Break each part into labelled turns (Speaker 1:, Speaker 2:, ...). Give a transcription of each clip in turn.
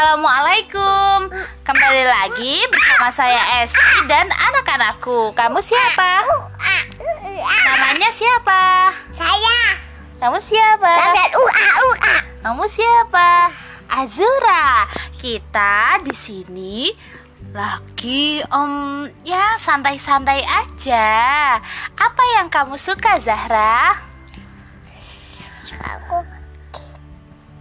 Speaker 1: Assalamualaikum Kembali lagi bersama saya Esti dan anak-anakku Kamu siapa? Namanya siapa?
Speaker 2: Saya
Speaker 1: Kamu siapa?
Speaker 2: Saset ua ua.
Speaker 1: Kamu siapa? Azura. Kita di sini lagi om ya santai-santai aja. Apa yang kamu suka Zahra?
Speaker 2: Aku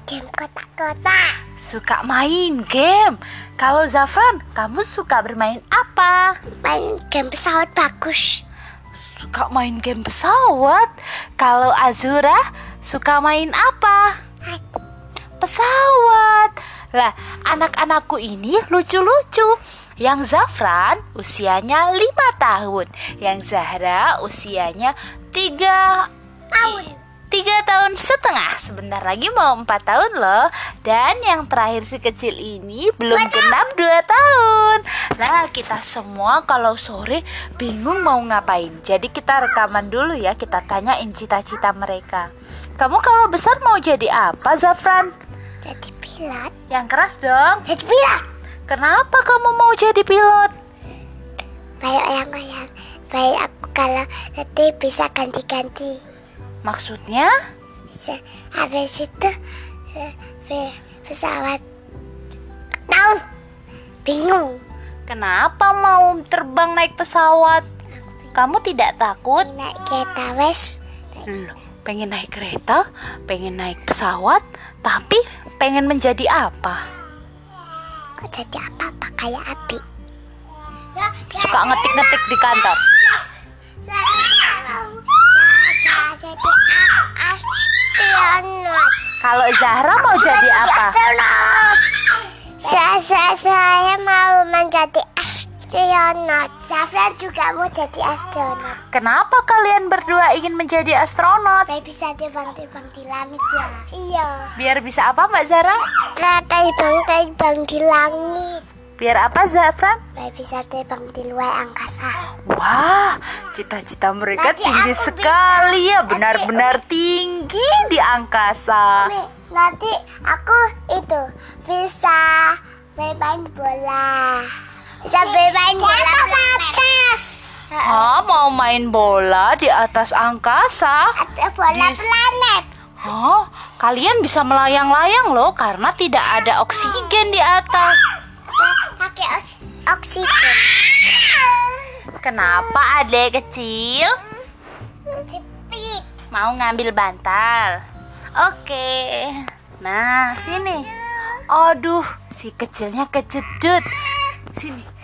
Speaker 2: game kotak-kotak.
Speaker 1: Suka main game. Kalau Zafran, kamu suka bermain apa?
Speaker 2: Main game pesawat bagus.
Speaker 1: Suka main game pesawat. Kalau Azura, suka main apa? Pesawat. Lah, anak-anakku ini lucu-lucu. Yang Zafran usianya 5 tahun, yang Zahra usianya 3
Speaker 2: Tahun.
Speaker 1: Tiga tahun setengah Sebentar lagi mau empat tahun loh Dan yang terakhir si kecil ini Belum genap dua tahun Nah kita semua kalau sore Bingung mau ngapain Jadi kita rekaman dulu ya Kita tanyain cita-cita mereka Kamu kalau besar mau jadi apa Zafran?
Speaker 2: Jadi pilot.
Speaker 1: Yang keras dong
Speaker 2: Jadi pilot.
Speaker 1: Kenapa kamu mau jadi pilot?
Speaker 2: Banyak yang yang baik aku kalau nanti bisa ganti-ganti.
Speaker 1: Maksudnya?
Speaker 2: Bisa habis itu eh, pe- pesawat tahu bingung
Speaker 1: Kenapa mau terbang naik pesawat? Kamu tidak takut?
Speaker 2: naik kereta wes
Speaker 1: Loh, Hmm, pengen naik kereta, pengen naik pesawat, tapi pengen menjadi apa?
Speaker 2: kok jadi apa apa kayak api
Speaker 1: Suka ngetik-ngetik di kantor.
Speaker 2: Saya mau jadi astronot.
Speaker 1: Kalau Zahra mau jadi apa?
Speaker 2: Astronot. Saya, saya, saya mau menjadi astronot. Safran juga mau jadi astronot.
Speaker 1: Kenapa kalian berdua ingin menjadi astronot?
Speaker 2: Baik bisa terbang-terbang di langit ya. Iya.
Speaker 1: Biar bisa apa Mbak Zahra?
Speaker 2: Nah, terbang-terbang di langit.
Speaker 1: Biar apa Zafran?
Speaker 2: Baik bisa terbang di luar angkasa.
Speaker 1: Wah, cita-cita mereka
Speaker 2: Nanti
Speaker 1: tinggi
Speaker 2: aku
Speaker 1: sekali ya, benar-benar tinggi di angkasa.
Speaker 2: Nih, Nanti aku itu bisa bermain bola. Bisa bermain bola. Atas.
Speaker 1: Ah, mau main bola di atas angkasa?
Speaker 2: Ada bola
Speaker 1: Dis-
Speaker 2: planet.
Speaker 1: Oh, kalian bisa melayang-layang loh karena tidak ada oksigen di atas.
Speaker 2: pakai os- oksigen
Speaker 1: Kenapa adek kecil
Speaker 2: Jepit.
Speaker 1: mau ngambil bantal? Oke. Nah, sini. Aduh, si kecilnya kejedut. Sini.